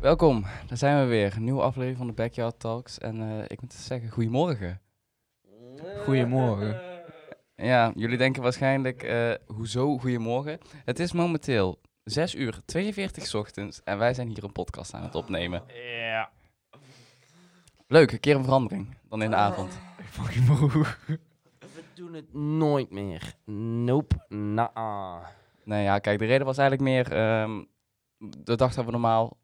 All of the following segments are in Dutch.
Welkom, daar zijn we weer. Een nieuwe aflevering van de Backyard Talks. En eh, ik moet zeggen, goedemorgen. Goedemorgen. Ja, jullie denken waarschijnlijk, eh, hoezo goedemorgen? Het is momenteel 6 uur 42 's ochtends en wij zijn hier een podcast aan het opnemen. Ja. Leuk, een keer een verandering dan in de avond. Fucking moe. We doen het nooit meer. Nope. Naa. Nou ja, kijk, de reden was eigenlijk meer, ehm, de dag dat we normaal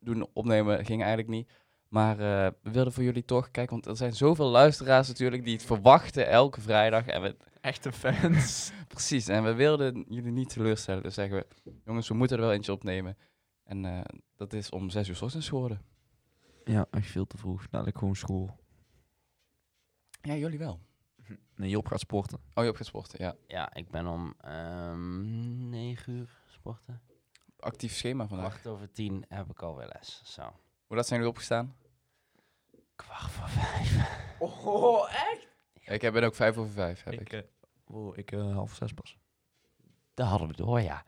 doen opnemen ging eigenlijk niet. Maar eh, we wilden voor jullie toch, kijk, want er zijn zoveel luisteraars natuurlijk die het verwachten elke vrijdag. En we, Echte fans. Precies, en we wilden jullie niet teleurstellen. Dus zeggen we, jongens, we moeten er wel eentje opnemen. En eh, dat is om zes uur 's ochtends geworden. Ja, echt veel te vroeg. Dadelijk gewoon school. Ja, jullie wel. Nee, Job gaat sporten. Oh, je hebt gesporten, ja. Ja, ik ben om ehm 9 uur sporten. Actief schema vandaag. Kwart over 10 heb ik alweer les. Zo. Hoe laat zijn jullie opgestaan? Kwart voor 5. Oh, echt? Ik heb- ben ook vijf over vijf, heb ik. eh, wow, ik eh, half zes pas. Dat hadden we door, ja.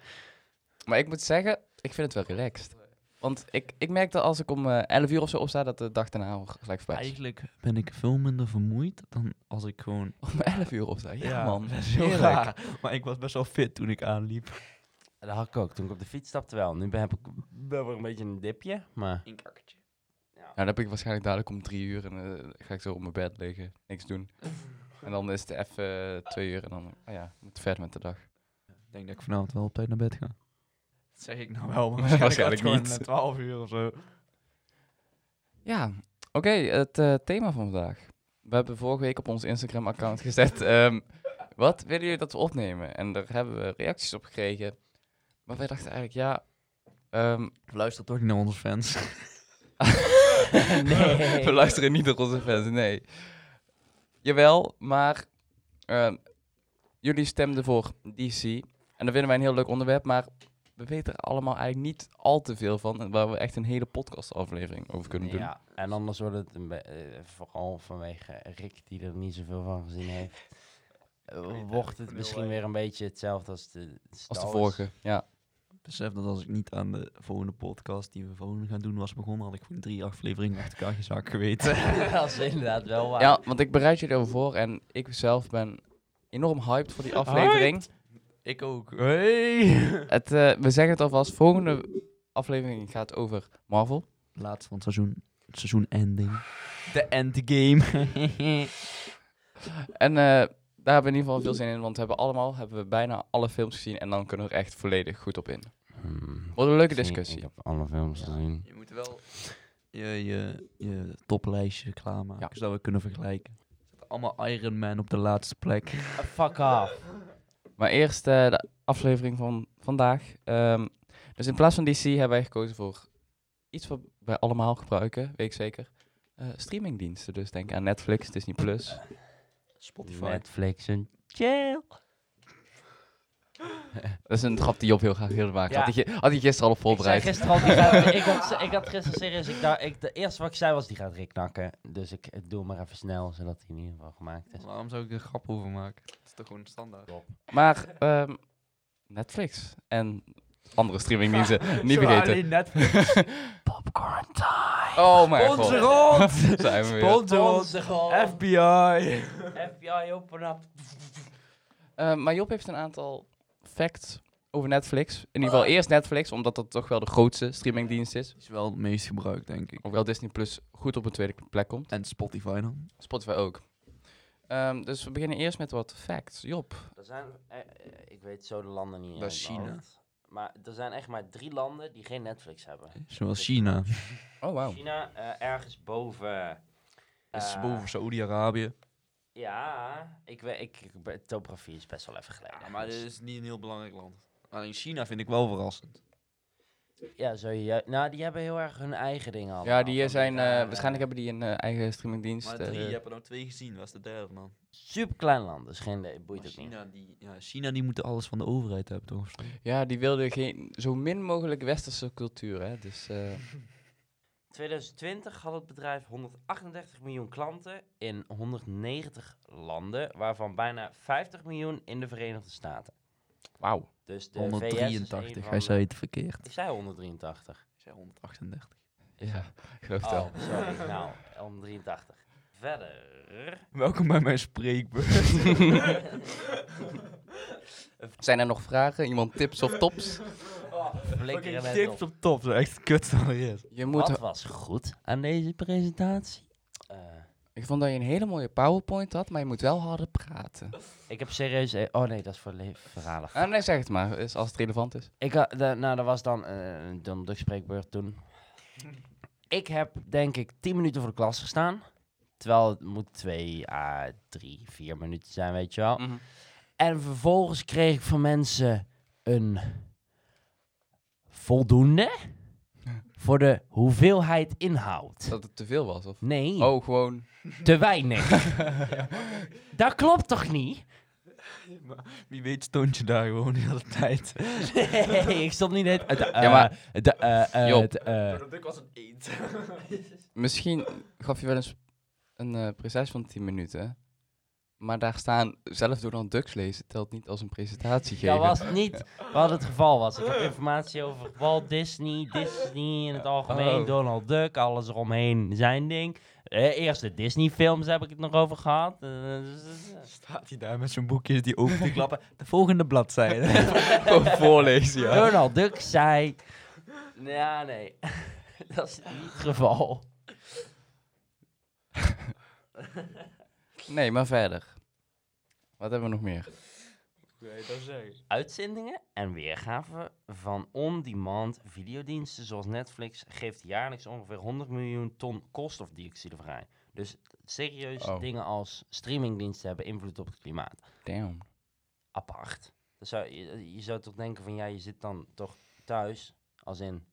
Maar ik moet zeggen, ik vind het wel relaxed. Want ik, ik merk dat als ik om eh, 11 uur of zo opsta, dat de dag daarna al gelijk voorbij is. Eigenlijk ben ik veel minder vermoeid dan als ik gewoon... Om 11 uur opsta, ja, man. dat is heel Heerlijk. raar. Maar ik was best wel fit toen ik aanliep. Dat had ik ook toen ik op de fiets stapte wel. Nu ben, heb ik ben weer een beetje een dipje, maar... Een kakkertje. Nou, dan heb ik waarschijnlijk dadelijk om drie uur en eh, ga ik zo op mijn bed liggen, niks doen. En dan is het even eh, twee uur en dan, ah ja, moet verder met de dag. Ik denk dat ik vanavond wel op tijd naar bed ga. Dat zeg ik nou wel, maar Waarschijnlijk niet. na 12 eh, uur of zo. Ja, oké, het eh, thema van vandaag. We hebben vorige week op ons Instagram-account gezet. ehm, wat willen jullie dat we opnemen? En daar hebben we reacties op gekregen. Maar wij dachten eigenlijk, ja. ehm, Luister toch niet naar onze fans. we luisteren niet naar onze fans, nee. Jawel, maar. ehm, jullie stemden voor DC. En dat vinden wij een heel leuk onderwerp, maar. We weten er allemaal eigenlijk niet al te veel van. en Waar we echt een hele podcastaflevering over kunnen doen. Ja, en anders wordt het een be- eh, vooral vanwege Rick, die er niet zoveel van gezien heeft. eh, Wordt het misschien weer een beetje hetzelfde als de, Als Star de Wars. vorige. Ja, Besef dat als ik niet aan de volgende podcast die we volgende gaan doen was begonnen, had ik gewoon drie afleveringen achter elkaar gezakt geweten. dat is inderdaad wel waar. ja want ik bereid jullie over voor. En ik zelf ben enorm hyped voor die aflevering. ik ook. Hey! Het, eh, we zeggen het alvast. Volgende aflevering gaat over Marvel. Laatste van het seizoen. Het seizoen ending. De endgame. Hmm. En eh, daar hebben we in ieder geval veel zin in. Want we hebben allemaal hebben we bijna alle films gezien. En dan kunnen we er echt volledig goed op in. Hmm. Wat een leuke Ik zie- discussie. Ik heb alle films Ja. gezien. je moet wel je, je, je toplijstje klaarmaken, Ja. zodat we kunnen vergelijken. Er zit allemaal Iron Man op de laatste plek. Ah, fuck off. Maar eerst eh, de aflevering van vandaag. Ehm, dus in plaats van DC hebben wij gekozen voor iets wat wij allemaal gebruiken. Weet ik zeker. Eh, streamingdiensten. Dus denk aan Netflix, Disney+. Plus. Spotify. Netflix en chill. Dat is een grap die Job heel graag wilde maken. Ja. Had, hij, ge- had hij gisteren al op Ik zei voorbereid. gisteren al, die gaat- ik, had, ik had gisteren serieus, ik dacht, ik, de eerste wat ik zei was, die gaat Rick nakken. Dus ik eh, doe hem maar even snel, zodat hij in ieder geval gemaakt is. Waarom zou ik er grap over maken? Het is toch gewoon standaard. Maar ehm, Netflix en andere streamingdiensten, niet vergeten. Popcorn time. Oh mijn god. Onze rond! Zijn we weer. Sponsor ons! FBI! FBI open up. Ehm, maar Job heeft een aantal facts over Netflix. In ieder geval eerst Netflix, omdat dat toch wel de grootste streamingdienst is. Is wel het meest gebruikt, denk ik. Hoewel Disney Plus goed op een tweede plek komt. En Spotify dan? Spotify ook. Ehm, dus we beginnen eerst met wat facts. Job, Er zijn, eh, eh, ik weet zo de landen niet. Dat uit is mijn China. hoofd. Maar er zijn echt maar drie landen die geen Netflix hebben. Zoals China. oh wow. China eh, ergens boven. is eh, boven Saoedi-Arabië. Ja, ik weet, ik, ik ben- topografie is best wel even geleden. Dus Ja, maar dit is niet een heel belangrijk land. Maar in China vind ik wel verrassend. Ja, zo je, nou, die hebben heel erg hun eigen dingen allemaal. Ja, die eh, van zijn, eh, eh, waarschijnlijk hebben die een eh, eigen streamingdienst. Maar drie, eh, je hebt er nou twee gezien. was de derde dan? Superklein land, dus geen, eh, boeit Maar ook niet. China, die, ja, China die moeten alles van de overheid hebben, toch? Ja, die wilden geen, zo min mogelijk westerse cultuur, hè. Dus, eh, 2020 had het bedrijf 138 miljoen klanten in 190 landen, waarvan bijna 50 miljoen in de Verenigde Staten. wauw. Dus de VS is een 183, van hij de- zei het verkeerd. Ik zei 183. zei 138. Ja, geloof het wel. Oh, sorry. Nou, om 83. Verder. Welkom bij mijn spreekbeurt. Zijn er nog vragen? Iemand tips of tops? Oh, flikkeren Fucking met tips op top, zo echt kut dan er is. Je moet... Wat was goed aan deze presentatie? Eh, Ik vond dat je een hele mooie PowerPoint had, maar je moet wel harder praten. ik heb serieus... eh, oh nee, dat is voor le- verhalen. Ah, nee, zeg het maar, is- als het relevant is. Ik had, da- nou, dat was dan eh, een dom spreekbeurt toen. ik heb denk ik 10 minuten voor de klas gestaan. Terwijl het moet 2 à 3, 4 minuten zijn, weet je Oh. Mm. wel. Mhm. En vervolgens kreeg ik van mensen een voldoende voor de hoeveelheid inhoud. Dat het te veel was, of? Nee, Oh, gewoon... te weinig. dat klopt toch niet? Wie weet stond je daar gewoon de hele tijd. Nee, ik stond niet net. eh, Ja, maar- Job. ik was een eend. Misschien gaf je wel eens een eh presentatie van 10 minuten, maar daar staan, zelf door dan ducks lezen, telt niet als een presentatie geven. Dat was niet wat het geval was. Ik heb informatie over Walt Disney, Disney in het algemeen, Oh. Donald Duck, alles eromheen, zijn ding. Eh, eerste Disney-films heb ik het nog over gehad. Eh, dus- dus- dus- Staat hij daar met zijn boekjes die open te klappen. De volgende bladzijde. Gewoon voorlezen, ja. Donald Duck zei. Ja, nee. Dat is niet het geval. Nee, maar verder. Wat hebben we nog meer? Uitzendingen en weergaven van on-demand videodiensten zoals Netflix geeft jaarlijks ongeveer 100 miljoen ton koolstofdioxide vrij. Dus serieus Oh. dingen als streamingdiensten hebben invloed op het klimaat. Damn. Apart. Dus zou, je, je zou toch denken van ja, je zit dan toch thuis als in.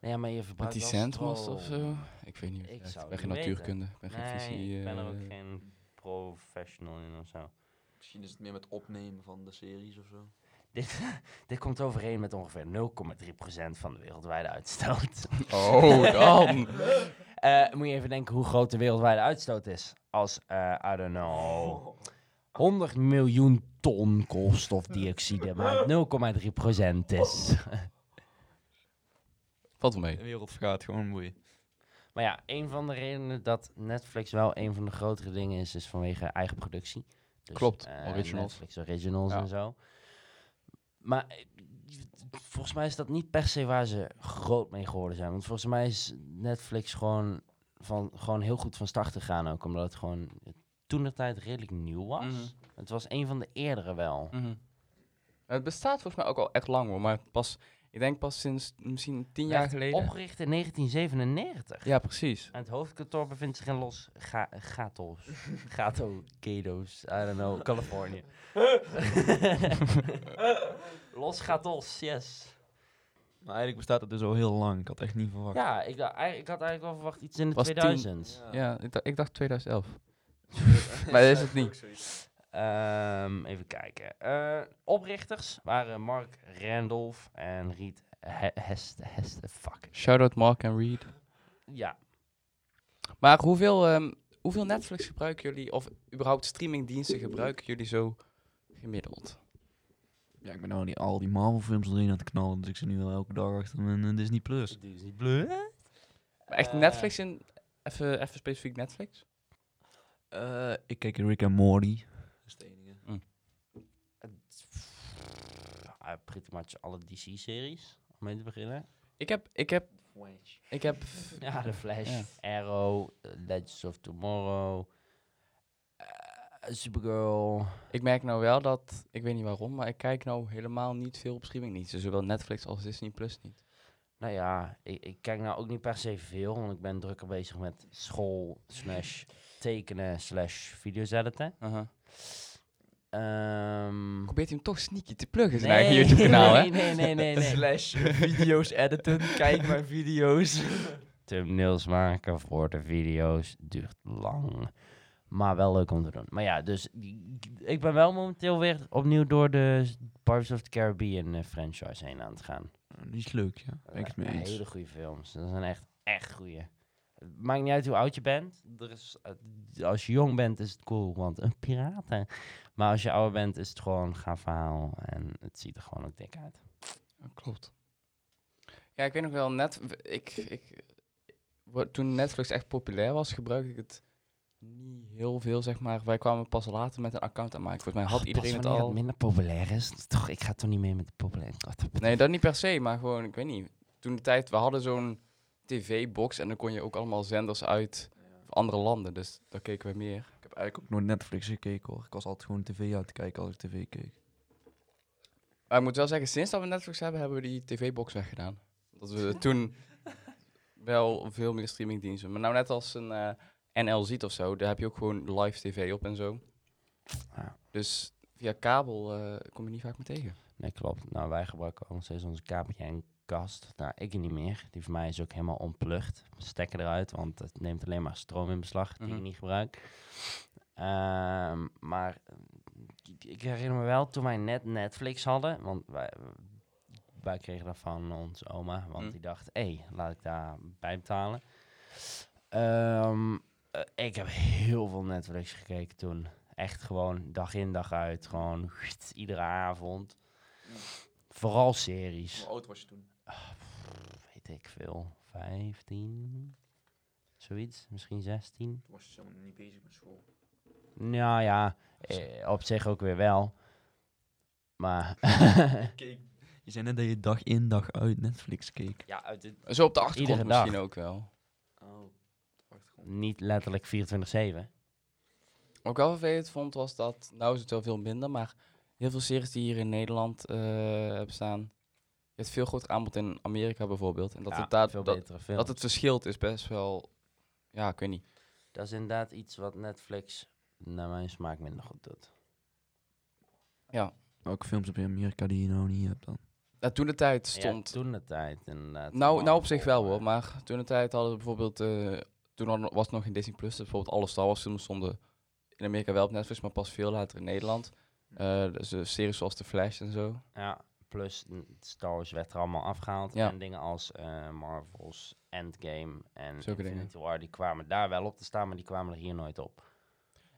Nee, ja, maar je Met verbruikt die wel sandwas of stroom. zo? Ik weet niet. Ik Oh. Ik, zou ik ben het geen niet weten. natuurkunde. Ik ben geen Nee, fysie. ik ben er eh, ook geen professional in of zo. Misschien is het meer met opnemen van de series of zo. Dit, dit komt overeen met ongeveer 0,3% van de wereldwijde uitstoot. Oh, dan! Eh, moet je even denken hoe groot de wereldwijde uitstoot is. Als, eh I don't know, 100 miljoen ton koolstofdioxide, maar 0,3% is. Valt wel mee. De wereld vergaat gewoon moeien. Maar ja, een van de redenen dat Netflix wel een van de grotere dingen is, is vanwege eigen productie. Dus, Klopt, eh, originals. Netflix originals Ja. en zo. Maar eh, volgens mij is dat niet per se waar ze groot mee geworden zijn. Want volgens mij is Netflix gewoon, van, gewoon heel goed van start gegaan ook. Omdat het gewoon toen de tijd redelijk nieuw was. Mhm. Het was een van de eerdere wel. Mhm. Het bestaat volgens mij ook al echt lang hoor, maar pas, ik denk pas sinds misschien tien jaar Werd geleden. Opgericht in 1997. Ja, precies. En het hoofdkantoor bevindt zich in Los Ga Gatos. Gato, Gatos, I don't know, Californië. Los Gatos, yes. Maar eigenlijk bestaat het dus al heel lang. Ik had echt niet verwacht. Ja, ik, dacht- eigenlijk- ik had eigenlijk wel verwacht iets in de Was tien. 2000s. Ja, ik, da- ik dacht 2011. maar dat is het niet. Ehm, even kijken. Eh, oprichters waren Mark Randolph en Reed He- Hest, Hest, fuck. Shoutout Mark en Reed. Ja, Maar hoeveel, ehm, hoeveel Netflix gebruiken jullie, of überhaupt streamingdiensten gebruiken jullie zo gemiddeld? Ja, ik ben nou die, al die Marvel-films erin aan het knallen. Dus ik zit nu wel elke dag achter mijn eh, Disney Plus. Disney Blue. Maar echt Eh, Netflix in, even, even specifiek Netflix? Eh, ik kijk Rick en Morty. Dat is het enige. Eh, pretty much alle DC-series, om mee te beginnen. Ik heb, ik heb, ik heb, Ja, de Flash, Ja. Arrow, eh, Legends of Tomorrow, eh, Supergirl. ik merk nou wel dat, ik weet niet waarom, maar ik kijk nou helemaal niet veel op streaming. Niet, dus zowel Netflix als Disney Plus niet. Nou ja, ik, ik kijk nou ook niet per se veel, want ik ben drukker bezig met school, slash tekenen, slash video's editen. Aha. Ehm, Probeert hij hem toch sneaky te pluggen zijn eigen YouTube kanaal, hè? nee, nee, nee, nee, nee. Slash video's editen. Kijk mijn video's. Thumbnails maken voor de video's duurt lang. Maar wel leuk om te doen. Maar ja, dus die- ik ben wel momenteel weer opnieuw door de Pirates of the Caribbean eh, franchise heen aan het gaan. Eh, Die is leuk, ja. Ben ik het mee eens. Hele goede films. Dat zijn echt, echt goede. Maakt niet uit hoe oud je bent. Er is, eh, als je jong bent is het cool, want een piraten. Maar als je ouder bent is het gewoon een gaaf verhaal. En het ziet er gewoon ook dik uit. Klopt. Ja, ik weet nog wel, net, ik, ik, wa- toen Netflix echt populair was, gebruikte ik het niet heel veel, zeg maar. Wij kwamen pas later met een account aanmaken. Volgens mij had Ach, iedereen het pas Oh, wanneer al. minder populair is. Toch, ik ga toch niet mee met de populair. Wat- Nee, dat niet per se, maar gewoon, ik weet niet. Toen de tijd, we hadden zo'n tv-box en dan kon je ook allemaal zenders uit andere landen. Dus daar keken we meer. Ik heb eigenlijk ook nooit Netflix gekeken hoor. Ik was altijd gewoon tv aan het kijken als ik tv keek. Maar ik moet wel zeggen, sinds dat we Netflix hebben, hebben we die tv-box weggedaan. Dat we toen wel veel meer streamingdiensten. Maar nou net als een eh NL ziet of zo, daar heb je ook gewoon live tv op en zo. Ja. Dus via kabel eh, kom je niet vaak meer tegen. Nee, klopt. Nou, wij gebruiken ook nog steeds onze KPN-kast. Nou, ik niet meer. Die van mij is ook helemaal onplucht. Stekker eruit, want het neemt alleen maar stroom in beslag die Mhm. ik niet gebruik. Ehm, maar eh, ik- ik herinner me wel toen wij net Netflix hadden, want wij, wij kregen dat van onze oma, want Mhm. die dacht, hé, laat ik daar bij betalen. Ehm, eh, ik heb heel veel Netflix gekeken toen. Echt gewoon dag in dag uit. Gewoon iedere avond. Vooral series. oud was je toen? Weet ik veel. 15? Zoiets. Misschien 16. Toen was je helemaal niet bezig met school. Nou ja, eh, op zich ook weer wel. Maar. Je zei net dat je dag in dag uit Netflix keek. ja, uit het- Zo op de achtergrond Iedere dag. misschien ook wel. Oh, achtergrond. niet letterlijk 24-7. Wat ik wel vervelend vond was dat, nou is het wel veel minder, maar heel veel series die hier in Nederland eh, hebben staan. Je hebt veel groter aanbod in Amerika bijvoorbeeld. En dat, Ja, het, daar, veel dat, betere films. dat het verschilt is best wel, ja, ik weet niet. Dat is inderdaad iets wat Netflix naar mijn smaak minder goed doet. Welke films heb je in Amerika die je nou niet hebt dan? Nou, toen de tijd stond Ja, toen de tijd inderdaad. Nou, nou op Marvel, zich wel eh, hoor, maar toen de tijd hadden we bijvoorbeeld, eh, toen had- was het nog in Disney Plus, dus bijvoorbeeld alle Star Wars films stonden in Amerika wel op Netflix, maar pas veel later in Nederland. Hm. Eh, dus eh, series zoals The Flash en zo. Ja, plus n- Star Wars werd er allemaal afgehaald. Ja. En dingen als eh, Marvel's Endgame en Zulke dingen. Infinity War, die kwamen daar wel op te staan, maar die kwamen er hier nooit op.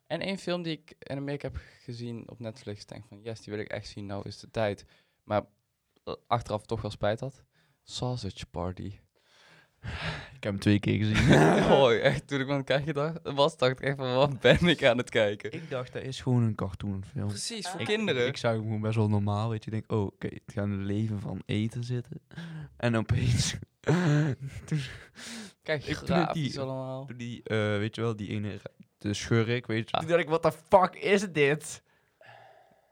En één film die ik in Amerika heb gezien op Netflix, denk van yes, die wil ik echt zien, nou is de tijd. Maar eh, achteraf toch wel spijt had. Sausage Party. Ik heb hem twee keer gezien. oh, echt, toen ik aan het kijken dacht, was, dacht ik echt van wat ben ik aan het kijken. ik dacht, dat is gewoon een cartoonfilm. Precies, voor Ik- kinderen. Ik, ik zag hem gewoon best wel normaal, weet je. Ik denk, oh, oké, het gaat een leven van eten zitten. En opeens, Kijk, ik- toen ik grafisch die- allemaal. toen die, eh, weet je wel, die ene, ra- de schurk, weet je. Ja. Toen dacht ik, what the fuck is dit?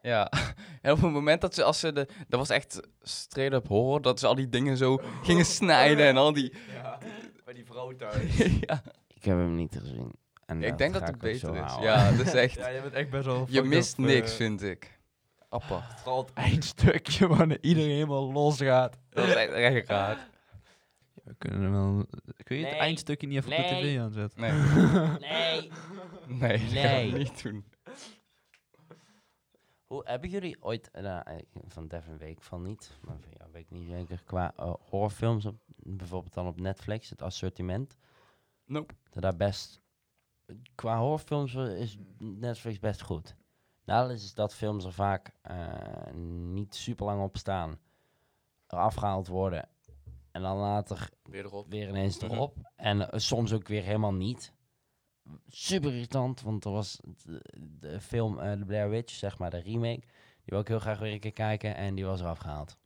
Ja, en op het moment dat ze, als ze de, dat was echt straight-up horror, dat ze al die dingen zo gingen snijden en al die... Ja, bij die vrouw thuis. ja, Ik heb hem niet gezien. En ik denk dat ga het ik ook zo beter is. houden. Ja, dat is echt... Ja, je bent echt best wel... je fucked mist up, niks, eh, vind ik. Apart. Vooral het eindstukje waar iedereen helemaal los gaat. Dat is echt, echt raar. We kunnen hem wel... Kun je Nee. het eindstukje niet even op de Nee. tv aanzetten? Nee, Nee! nee, dat gaan we Nee. niet doen. Hoe hebben jullie ooit, eh, nou, eh, van Devin Week van niet, maar van jou weet ik niet zeker, qua eh, horrorfilms, op, bijvoorbeeld dan op Netflix, het assortiment, Nope. dat daar best, qua horrorfilms eh, is Netflix best goed. Nadeel is dat films er vaak eh, niet super lang op staan, eraf gehaald worden en dan later Weer erop. weer ineens Mhm. erop. En eh, soms ook weer helemaal niet. Super irritant, want er was de, de film eh The Blair Witch, zeg maar, de remake. Die wil ik heel graag weer een keer kijken en die was eraf gehaald.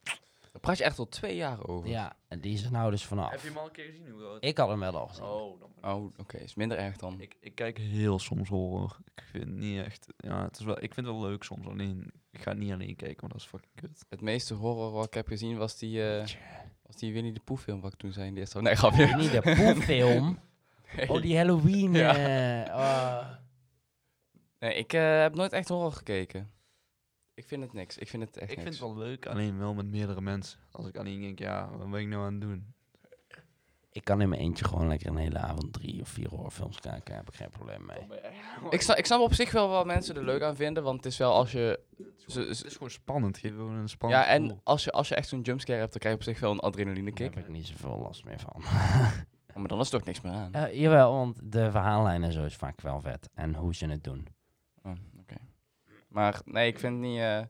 Daar praat je echt al twee jaar over. Ja, en die is er nou dus vanaf. hem al een keer gezien? Hoe dat? Ik had hem wel al gezien. dan Oh, oké, is minder erg dan. Ik, ik kijk heel soms horror. Ik vind het niet echt. Ja, het is wel, ik vind het wel leuk soms. Alleen, ik ga het niet alleen kijken, want dat is fucking kut. Het meeste horror wat ik heb gezien was die, eh, was die Winnie de Pooh film wat ik toen zei in de eerste... Nee, grapje. Niet de Pooh-film. Nee. Oh, die Halloween. Ja. eh, ah. Nee, ik eh, heb nooit echt horror gekeken. Ik vind het niks. Ik vind het echt ik vind niks. het wel leuk, alleen wel met meerdere mensen. Als ik alleen denk, ja, wat ben ik nou aan het doen? Ik kan in mijn eentje gewoon lekker een hele avond drie of vier horrorfilms kijken. Daar heb ik geen probleem mee. Ik, snap, ik snap op zich wel wat mensen er leuk aan vinden, want het is wel als je... Ze, Het ze- is gewoon spannend. Geef gewoon een spannend. ja, en gevoel. als je, als je echt zo'n jumpscare hebt, dan krijg je op zich wel een adrenaline Daar kick. heb ik niet zoveel last meer van. Ja, maar dan is er ook niks meer aan. Eh, jawel, want de verhaallijn en zo is vaak wel vet. En hoe ze het doen. Oh, oké. Maar nee, ik vind het niet, eh, is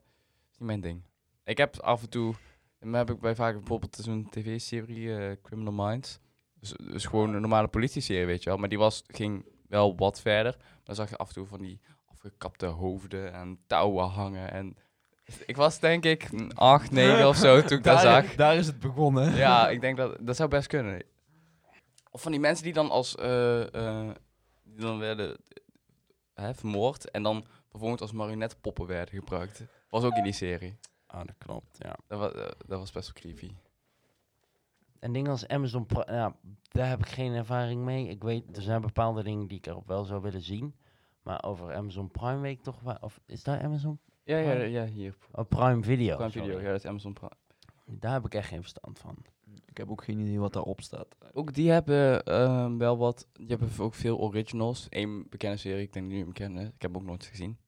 niet mijn ding. Ik heb af en toe... En dan heb ik bij vaak bijvoorbeeld zo'n tv-serie, eh, Criminal Minds. Dus, dus gewoon een normale politie-serie, weet je wel. Maar die was, ging wel wat verder. Maar dan zag je af en toe van die afgekapte hoofden en touwen hangen. En ik was denk ik 8, 9 of zo toen ik dat zag. daar is het begonnen. Ja, ik denk dat dat zou best kunnen. Of van die mensen die dan als eh, eh, die dan werden eh, hè, vermoord en dan vervolgens als marionetpoppen werden gebruikt. Was ook in die serie. Ah, dat klopt, ja. Dat was, dat was best wel creepy. En dingen als Amazon Pri- ja, daar heb ik geen ervaring mee. Ik weet, er zijn bepaalde dingen die ik erop wel zou willen zien. Maar over Amazon Prime weet ik toch wel... Of is dat Amazon? Ja, ja, ja, ja, hier. Oh, Prime Video. Prime Video, sorry. ja, dat is Amazon Prime. Daar heb ik echt geen verstand van. Ik heb ook geen idee wat daarop staat. Ook die hebben ehm, wel wat, die hebben ook veel originals. Eén bekende serie, ik denk nu hem kennen, ik heb hem ook nooit gezien.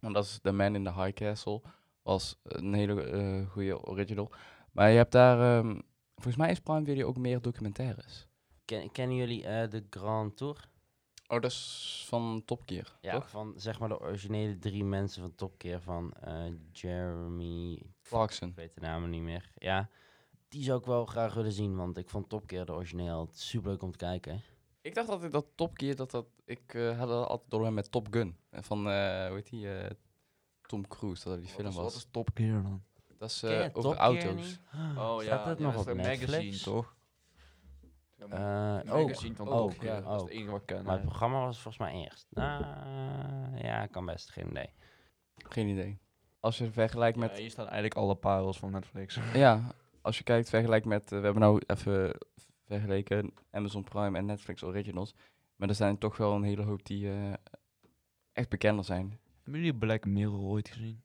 En dat is The Man in the High Castle, was een hele eh, goede original. Maar je hebt daar, ehm, volgens mij is Prime Video ook meer documentaires. Ken, kennen jullie eh, de Grand Tour? Oh, dat is van Top Gear, Ja, toch? van zeg maar de originele drie mensen van Top Gear van eh, Jeremy, Clarkson. ik weet de namen niet meer. Ja, die zou ik wel graag willen zien, want ik vond Top Gear de origineel super leuk om te kijken. Ik dacht dat ik dat Top Gear, dat dat, ik eh, had dat altijd door met Top Gun. En Van, eh hoe heet die, eh, Tom Cruise, Oh, dat dat die film was. Top Gear dan? Dat is Ken je eh, Top over Gear auto's. niet? Oh Ah, Staat ja, dat ja, nog dat op is een magazine Netflix? toch? Ja, maar- Eh, Oh, een ook. magazine van ook, Tolkien, ja, Dat is ook. het enige wat ik ken. hè. Maar het programma was volgens mij eerst. Ah, ja, kan best, geen idee. Geen idee. Als je vergelijkt met Ja, hier staan eigenlijk alle parels van Netflix. Ja, als je kijkt, vergelijk met. eh, we hebben nou even vergeleken Amazon Prime en Netflix Originals. Maar er zijn toch wel een hele hoop die eh, echt bekender zijn. Hebben jullie Black Mirror ooit gezien?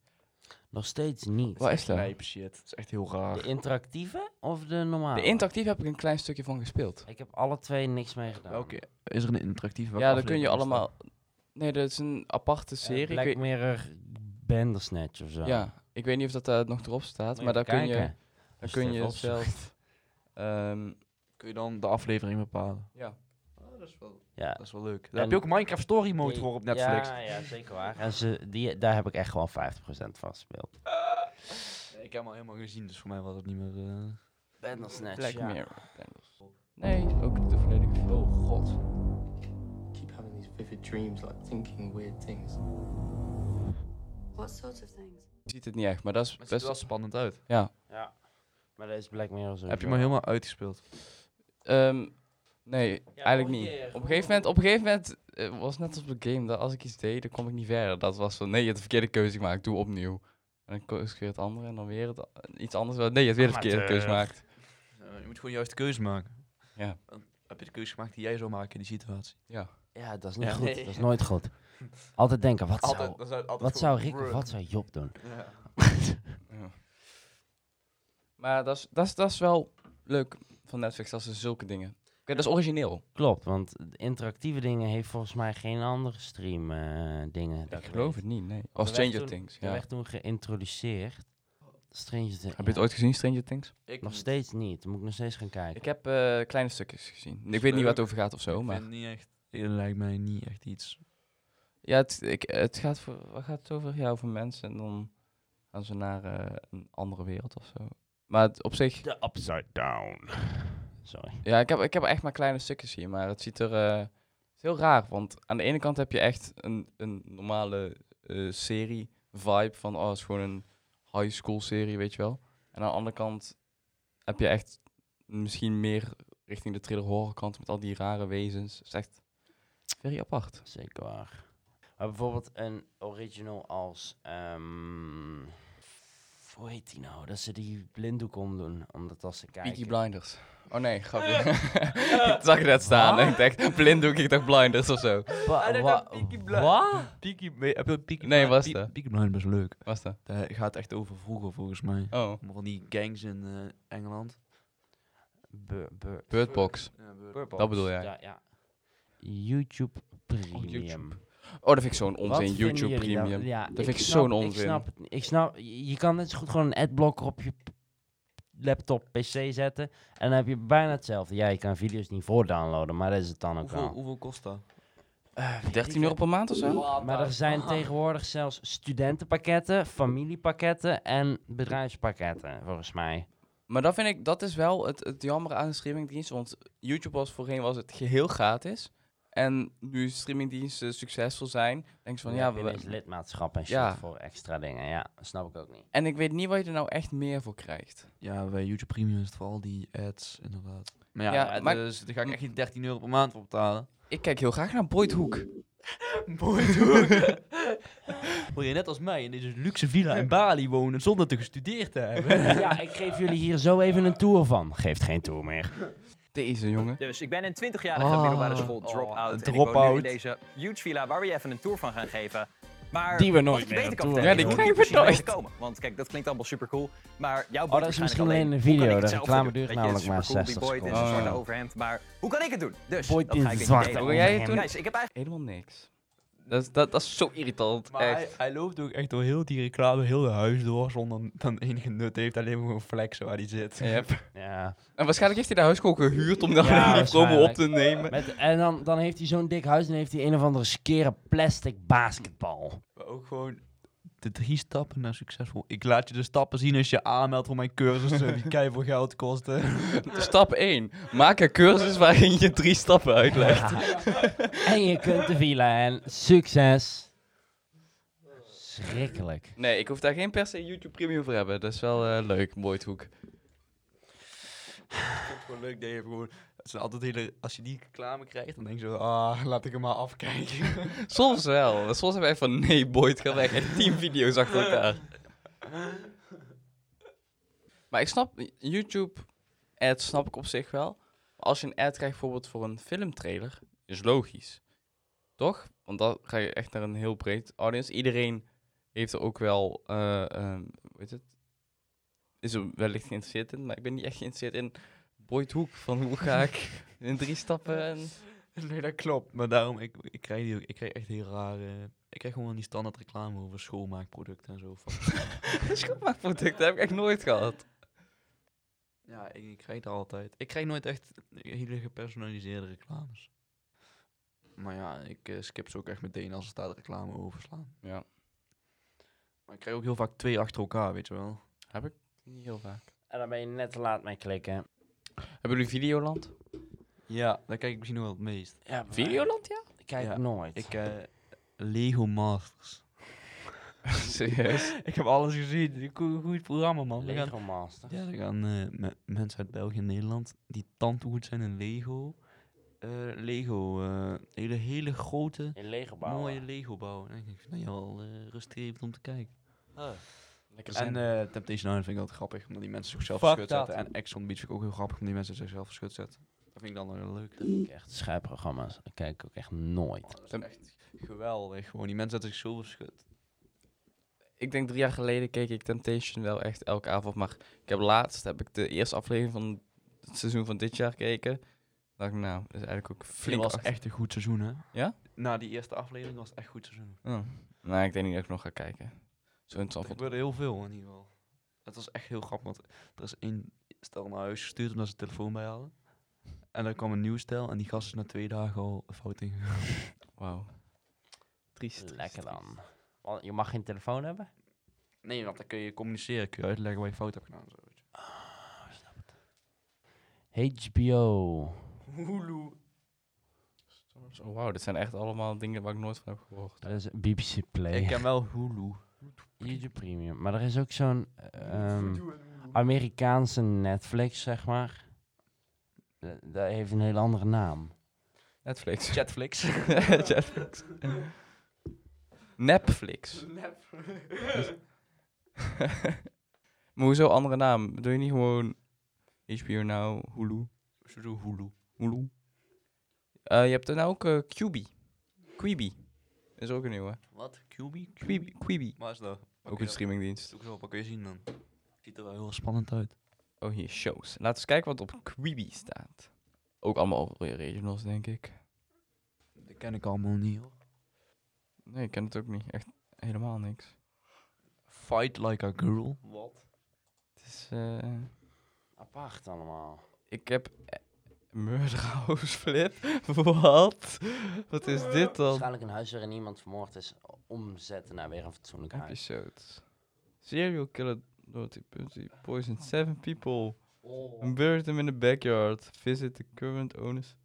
Nog steeds niet. Wat is dat? Nee, shit. Het is echt heel raar. De interactieve of de normale? De interactief heb ik een klein stukje van gespeeld. Ik heb alle twee niks mee gedaan. Welke? Is er een interactieve? Welke ja, dan kun je aflevering is dat? allemaal. Nee, dat is een aparte Eh, serie. ik Black weet- Mirror Bandersnatch of zo. ja, ik weet niet of dat daar nog erop staat. Maar daar kun je, daar kun je zelf. ehm, Kun je dan de aflevering bepalen? ja. Oh, dat, is wel, Ja. leuk. Daar En- heb je ook Minecraft Story Mode Die- voor op Netflix. Ja, ja zeker waar. En ze, die, daar heb ik echt gewoon 50% van gespeeld. Nee, ik heb hem al helemaal gezien, dus voor mij was het niet meer... eh, Bandersnatch, Black ja. Mirror. Nee, ook de volledige film. Oh god. keep having these vivid dreams, like thinking weird things. What sorts of things? Je ziet het niet echt, maar dat is Het ziet best. er wel spannend uit. Ja. Ja. Maar dat is Black Mirror zo. Heb je maar helemaal uitgespeeld? Ehm, nee, eigenlijk niet. probeer, Op een gegeven moment, op een gegeven moment eh, was het net als op een game dat als ik iets deed, dan kom ik niet verder. Dat was van nee, je hebt de verkeerde keuze gemaakt, doe opnieuw. En dan ko- is het weer het andere en dan weer het, a- iets anders. Nee, je hebt weer de verkeerde Amateur. keuze gemaakt. Eh, je moet gewoon juist de keuze maken. Ja. Dan heb je de keuze gemaakt die jij zou maken in die situatie. Ja. Ja, dat is niet Ja. goed. Nee. Dat is nooit goed. Altijd denken, wat zou, dan zou het altijd wat zou gewoon Rick of bruh. wat zou Job doen? Ja. Maar dat is, dat, is, dat is wel leuk van Netflix, dat ze zulke dingen. Oké, dat is origineel. Klopt, want de interactieve dingen heeft volgens mij geen andere stream eh, dingen. dat ik geloof weet. het niet, nee. Of Of Stranger toen- Things, Ik heb ja. echt toen geïntroduceerd. Stranger Things. Heb je het ooit gezien, Stranger Things? Ik Nog niet. steeds niet. Dan moet ik nog steeds gaan kijken. Ik heb eh, kleine stukjes gezien. Ik weet niet waar leuk. het over gaat of zo, Ik maar... vind het niet echt... Het lijkt mij niet echt iets. Ja, het, ik, het gaat, voor, waar gaat het over? Ja, over mensen en dan gaan ze naar eh, een andere wereld of zo. Maar het, op zich, De Upside Down. Sorry. ja, ik heb, ik heb echt maar kleine stukjes hier, maar het ziet er eh, het is heel raar. Want aan de ene kant heb je echt een, een normale serie-vibe van, oh, het is gewoon een high school serie, weet je wel. En aan de andere kant heb je echt misschien meer richting de thriller horror kant met al die rare wezens. Het is echt very apart. Zeker waar. Maar bijvoorbeeld een original als... ehm, hoe heet die nou? Dat ze die blinddoek omdoen. Omdat als ze kijken... Peaky Blinders. Oh nee, grapje. ik zag net staan en ik dacht, blinddoek, ik dacht Blinders of zo. Wa- wa- Wat? Peaky... Heb je Peaky Nee, Bli- was Pe- dat? Peaky Blinders best leuk. Was dat? Daar gaat echt over vroeger volgens mij. Oh. Allemaal Van die gangs in eh, Engeland. Bur- bur- Birdbox. Purple. Dat bedoel jij? Ja, ja. YouTube Premium. Oh, dat vind ik zo'n Wat onzin, vinden YouTube jullie daar- Premium. Ja, vind ik snap- zo'n onzin. Ik snap het niet. Ik snap, je je kan net zo goed gewoon een adblocker op je p- laptop, pc zetten. En dan heb je bijna hetzelfde. Ja, je kan video's niet voor downloaden, maar dat is het dan ook Hoeveel, wel. hoeveel kost dat? 13 Eh, euro per maand of zo? Maar er zijn tegenwoordig zelfs studentenpakketten, familiepakketten en bedrijfspakketten, volgens mij. Maar dat vind ik, dat is wel het, het jammer aan de streamingdienst. Want YouTube was voorheen was het geheel gratis. En nu streamingdiensten succesvol zijn, denk ze van ja, we we- lidmaatschap en shit Ja. voor extra dingen. Ja, dat snap ik ook niet. En ik weet niet waar je er nou echt meer voor krijgt. Ja, bij YouTube Premium is het vooral die ads, inderdaad. Maar ja, Ja, eh, maar- dus daar ga ik echt geen 13 euro per maand voor betalen. Ik kijk heel graag naar Boyd Hoek. Wil je net als mij in deze luxe villa in Bali wonen zonder te gestudeerd te hebben? ja, ik geef jullie hier zo even een tour van. Geeft geen tour meer. Deze jongen. Dus ik ben een 20-jarige Ah. middelbare school drop-out. een en ik woon nu drop-out. in deze huge villa waar we je even een tour van gaan geven. Maar Die we wat nooit ik meer beter een kan tour vertellen gaan geven. is hoe Ja, die je precies krijgen we bent gekomen. Want kijk, dat klinkt allemaal super cool. Maar jouw Oh, boeit dat is waarschijnlijk misschien alleen een Hoe kan video. ik het De zelf reclame doen? duurt Weet je, het is namelijk maar supercool, 60 Die boy, seconden. het is een seconden. zwarte overhemd. Maar hoe kan ik het doen? Dus Boy, dat dit ga ik is even zwarte delen. Hoe ga jij het overhemd. doen? Guys, ik heb eigenlijk Helemaal niks. Dat is, dat, dat is zo irritant. Maar echt. hij, hij loopt ook echt door heel die reclame, heel de huis door, zonder dan enige nut heeft. Alleen maar gewoon flexen waar hij zit. Yep. Ja. En waarschijnlijk heeft hij de huiskool gehuurd om daar Ja, alleen die promo op te waarschijnlijk. nemen. Met, en dan, dan heeft hij zo'n dik huis en heeft hij een of andere skere plastic basketbal. Maar ook gewoon de drie stappen naar succesvol. Ik laat je de stappen zien als je aanmeldt voor mijn cursussen, die kei veel geld kosten. Stap 1. Maak een cursus waarin je drie stappen uitlegt. En je kunt de villa en succes. Schrikkelijk. Nee, ik hoef daar geen per se YouTube Premium voor hebben. Dat is wel eh, leuk, Boyd Hoek. vind het gewoon leuk dat je gewoon... Het zijn altijd hele, als je die reclame krijgt, dan denk je zo, ah, laat ik hem maar afkijken. Soms wel. Soms hebben wij van nee, Boyd gaat weg. En tien video's achter elkaar. Maar ik snap, YouTube ads snap ik op zich wel. Als je een ad krijgt bijvoorbeeld voor een filmtrailer, is logisch. Toch? Want dan ga je echt naar een heel breed audience. Iedereen heeft er ook wel, eh ehm, hoe heet het? Is er wellicht geïnteresseerd in, maar ik ben niet echt geïnteresseerd in Boyd Hoek. Van hoe ga ik in drie stappen en... nee, dat klopt. Maar daarom, ik, ik, krijg die, ook- ik krijg echt heel rare... Ik krijg gewoon die standaard reclame over schoonmaakproducten en zo. Schoonmaakproducten heb ik echt nooit gehad. ja, ik, ik krijg dat altijd. Ik krijg nooit echt hele gepersonaliseerde reclames. Maar ja, ik eh, skip ze ook echt meteen als er staat reclame overslaan. Ja, Maar ik krijg ook heel vaak twee achter elkaar, weet je wel. heb ik niet heel vaak. En dan ben je net te laat mee klikken. Hebben jullie Videoland? Ja, daar kijk ik misschien nog wel het meest. Ja, maar Videoland, ja? Ik kijk Ja. nooit. Ik, eh, Lego Masters. Serieus? Ik heb alles gezien. Goed, goed programma, Oh, man. We gaan, Lego Master. ja, er gaan eh, me- mensen uit België en Nederland die tandgoed zijn in Lego. eh, Lego, eh, hele, hele grote, In Lego bouwen. mooie Lego bouwen. En ik denk, nou ja, al eh rustgevend om te kijken. Lekker Oh, En eh, Temptation Island vind ik altijd grappig, omdat die mensen zichzelf Fuck verschut dat. zetten. En Exxon Beach vind ik ook heel grappig, omdat die mensen zichzelf verschut zetten. Dat vind ik dan wel heel leuk. Ik echt schijnprogramma's. Ik kijk ook echt nooit. Dat is echt geweldig, gewoon. Die mensen zetten zich zo verschut. ik denk drie jaar geleden keek ik Temptation wel echt elke avond. Maar ik heb laatst heb ik de eerste aflevering van het seizoen van dit jaar gekeken. Dacht ik, nou, dat is eigenlijk ook Flink flink was achter- echt een goed seizoen, hè? Ja? Na die eerste aflevering was het echt goed seizoen. Oh. Nou, ik denk niet dat ik nog ga kijken. Zo interessant Er vond gebeurde heel veel in ieder geval. Het was echt heel grappig, want er is één stel naar huis gestuurd omdat ze de telefoon bij hadden. En dan kwam een nieuw stel en die gast is na twee dagen al fout ingegaan. Wauw. Triest. Lekker dan. Want je mag geen telefoon hebben? Nee, want dan kun je communiceren, kun je uitleggen waar je fout hebt gedaan. en Zo, weet je. HBO. Oh, Wauw, dit zijn echt allemaal dingen waar ik nooit van heb gehoord. Dat is BBC Play. Ik ken wel Hulu. YouTube Premium. Maar er is ook zo'n ehm, Amerikaanse Netflix, zeg maar. Eh, Dat heeft een heel andere naam. Netflix. Chatflix. Netflix. Netflix. maar hoezo andere naam? Doe je niet gewoon HBO Now, nou, Hulu? Sowieso Hulu. Hulu? Eh, je hebt er nou ook eh Quibi. Quibi. Is ook een nieuwe. Wat? QB? Quibi. Quibi. Waar is dat? Ook een streamingdienst. Zoek zo op, wat kun je zien dan? Ziet er wel heel spannend uit. Oh, hier, shows. Laten we eens kijken wat op Quibi staat. Ook allemaal weer regionals, denk ik. Dat ken ik allemaal niet hoor. Nee, ik ken het ook niet. Echt helemaal niks. Fight Like a Girl. Wat? Het is... eh, Apart allemaal. Ik heb eh, Murder House Flip. Wat? Wat is dit dan? Waarschijnlijk een huis waarin iemand vermoord is. Omzetten naar weer een fatsoenlijk huis. Episodes. Serial Killer Dirty Pussy poisoned seven people Oh, and buried them in the backyard. Visit the current owners.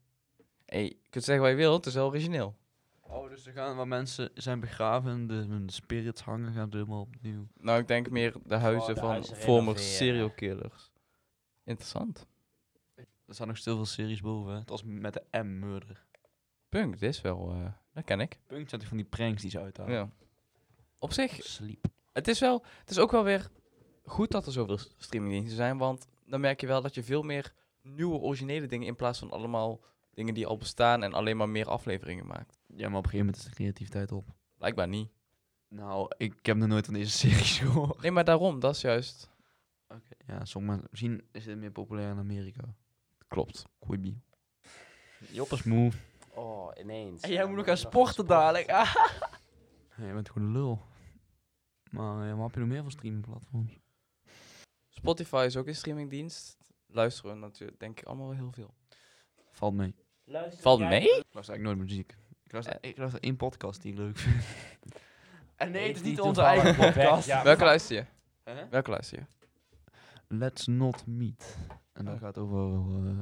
Hey, je kunt zeggen wat je wilt, het is wel origineel. Oh, dus er gaan waar mensen zijn begraven en de, hun spirits hangen, gaan ze helemaal opnieuw. Nou, ik denk meer de huizen Oh, de van huizen former renoveren. serial killers. Interessant. Er staan nog zoveel series boven. hè. Het was met de M-murder. Punk, dit is wel... eh, dat ken ik. Punt had ik van die pranks die ze uithalen. Ja. Op zich, Sleep. het is, wel, het is ook wel weer goed dat er zoveel s- streamingdiensten zijn. Want dan merk je wel dat je veel meer nieuwe originele dingen... in plaats van allemaal dingen die al bestaan... en alleen maar meer afleveringen maakt. Ja, maar op een gegeven moment is de creativiteit op. Blijkbaar niet. Nou, ik heb nog nooit van deze series gehoord. Nee, maar daarom, dat is juist... Ja, sommige, misschien is dit meer populair in Amerika. Klopt. Koibi. Job is moe. Oh, ineens. En jij Ja, moet nog maar gaan sporten dadelijk. Ah. sporten. Ah. Ja, je bent gewoon een lul. Maar eh, wat heb je nog meer van streamingplatforms? Spotify is ook een streamingdienst. Luisteren natuurlijk, denk ik, allemaal wel heel veel. Valt mee. Luister Valt jij- mee? Ik luister eigenlijk nooit muziek. Ik luister, Eh. ik luister één podcast die ik leuk vind. En nee, het is Heeft niet die onze toevallig eigen een back- podcast. ja, Welke luister je? Hè? Welke luister je? Let's Not Meet. En dat Oh. gaat over eh,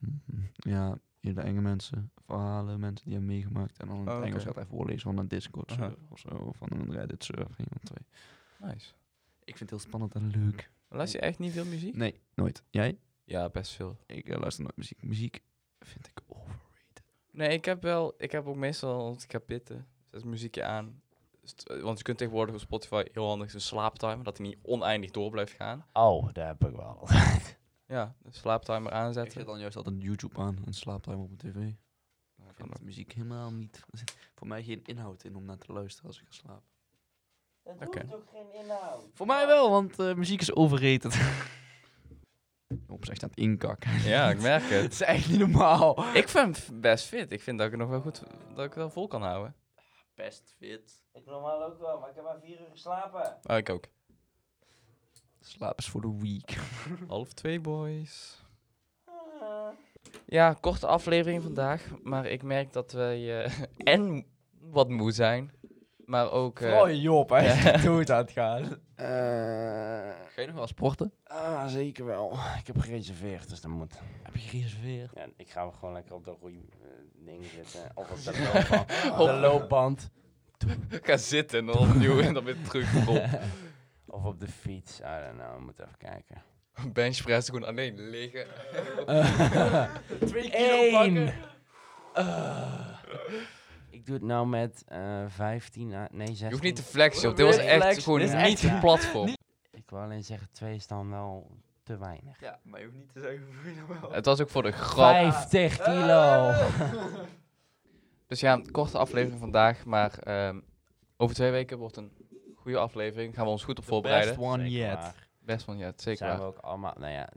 mm, ja, hele enge mensen. Verhalen, mensen die hebben meegemaakt. En dan in het Oh, oké. Engels gaat hij voorlezen van een Discord Aha. server of zo. Of van een Reddit server. Een van twee. Nice. Ik vind het heel spannend en leuk. Luister je echt niet veel muziek? Nee, nooit. Jij? Ja, best veel. Ik eh, luister nooit muziek. Muziek vind ik overrated. Nee, ik heb wel, ik heb ook meestal, want ik heb pitten, zet muziekje aan. St- Want je kunt tegenwoordig op Spotify heel handig een slaaptimer, dat hij niet oneindig door blijft gaan. Oh, daar heb ik wel. Ja, een slaaptimer Ik zet aanzetten. dan juist altijd YouTube aan en slaaptime op mijn tv. Ik kan vind ook. muziek helemaal niet... Er zit voor mij geen inhoud in om naar te luisteren als ik ga slapen. Dat Oké. hoeft ook geen inhoud. Voor mij wel, want eh, muziek is overrated. Op zich aan het inkakken. Ja, ik merk Het het. is echt niet normaal. Ik vind het f- best fit. Ik vind dat ik het nog wel goed, dat ik het wel vol kan houden. Best fit. Ik normaal ook wel, maar ik heb maar vier uur geslapen. Oh, ik ook. Slaap is voor de week. Half twee, boys. Ja, korte aflevering vandaag. Maar ik merk dat wij eh en wat moe zijn. Maar ook... eh, Job, hij is er dood aan het gaan. Eh, Ga je nog wel sporten? ah, zeker wel. Ik heb gereserveerd, dus dat moet. Heb je gereserveerd? Ja, ik ga gewoon lekker op dat roeiding ding zitten. Of op de loopband. op de loopband. ga zitten en dan opnieuw en dan weer terug op. Of op de fiets. I don't know, we moeten even kijken. Benchpress gewoon alleen liggen. Eh. Twee Eén! Ah. Ik doe het nou met eh 15, à- nee 16. Je hoeft niet te flexen, joh. Dit was Weer echt flexen, gewoon dit niet is echt, ja. het platform. Ik wil alleen zeggen, twee is dan wel te weinig. Ja, maar je hoeft niet te zeggen hoeveel je nou wel. Het was ook voor de grap. 50 kilo! Eh. Dus ja, een korte aflevering vandaag. Maar ehm, over twee weken wordt een goede aflevering. Gaan we ons goed op voorbereiden. Best one Zeker yet. waar. Best van, ja, het zeker Zijn we waar. ook allemaal, nou ja,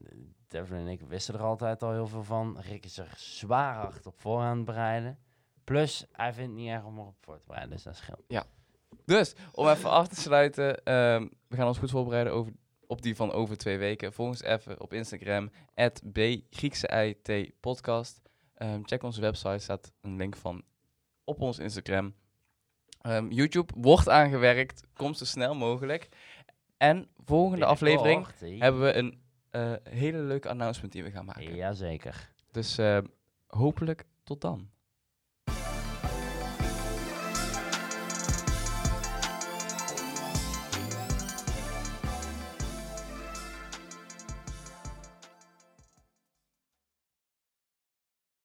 Devlin en ik wisten er altijd al heel veel van. Rick is er zwaar hard op voor aan het bereiden. Plus, hij vindt het niet erg om erop voor te bereiden, dus dat scheelt. Dus, om even af te sluiten. ehm, we gaan ons goed voorbereiden over, op die van over twee weken. Volg ons even op Instagram. At B Griekse IT podcast. Ehm, check onze website. staat een link van op ons Instagram. Ehm, YouTube wordt aangewerkt. Komt zo snel mogelijk. En volgende Oh, aflevering hebben we een eh, hele leuke announcement die we gaan maken. Jazeker. Dus eh, hopelijk tot dan.